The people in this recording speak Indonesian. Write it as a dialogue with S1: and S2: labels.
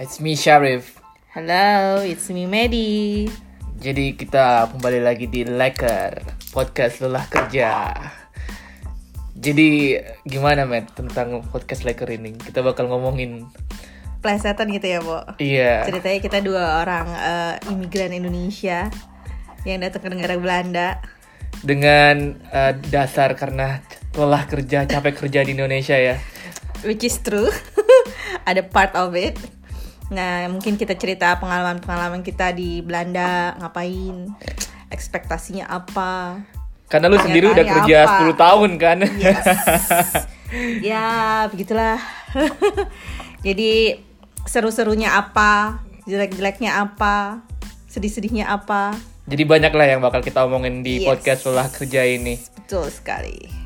S1: It's me Sharif.
S2: Hello, it's me Medi.
S1: Jadi kita kembali lagi di Leker Podcast Lelah Kerja. Jadi gimana Matt tentang podcast Leker ini? Kita bakal ngomongin
S2: Plesetan gitu ya, Bo.
S1: iya
S2: Ceritanya kita dua orang eh, imigran Indonesia yang datang ke negara Belanda.
S1: dengan eh, dasar karena lelah kerja, capek kerja di Indonesia ya.
S2: which is true ada part of it nah mungkin kita cerita pengalaman-pengalaman kita di Belanda ngapain ekspektasinya apa
S1: Karena lu sendiri udah
S2: Kenyataannya
S1: kerja
S2: apa?
S1: 10 tahun kan.
S2: yes ya begitulah jadi seru-serunya apa jelek-jeleknya apa sedih-sedihnya apa
S1: Jadi banyak lah yang bakal kita omongin di
S2: Yes.
S1: podcast lelah kerja ini.
S2: betul sekali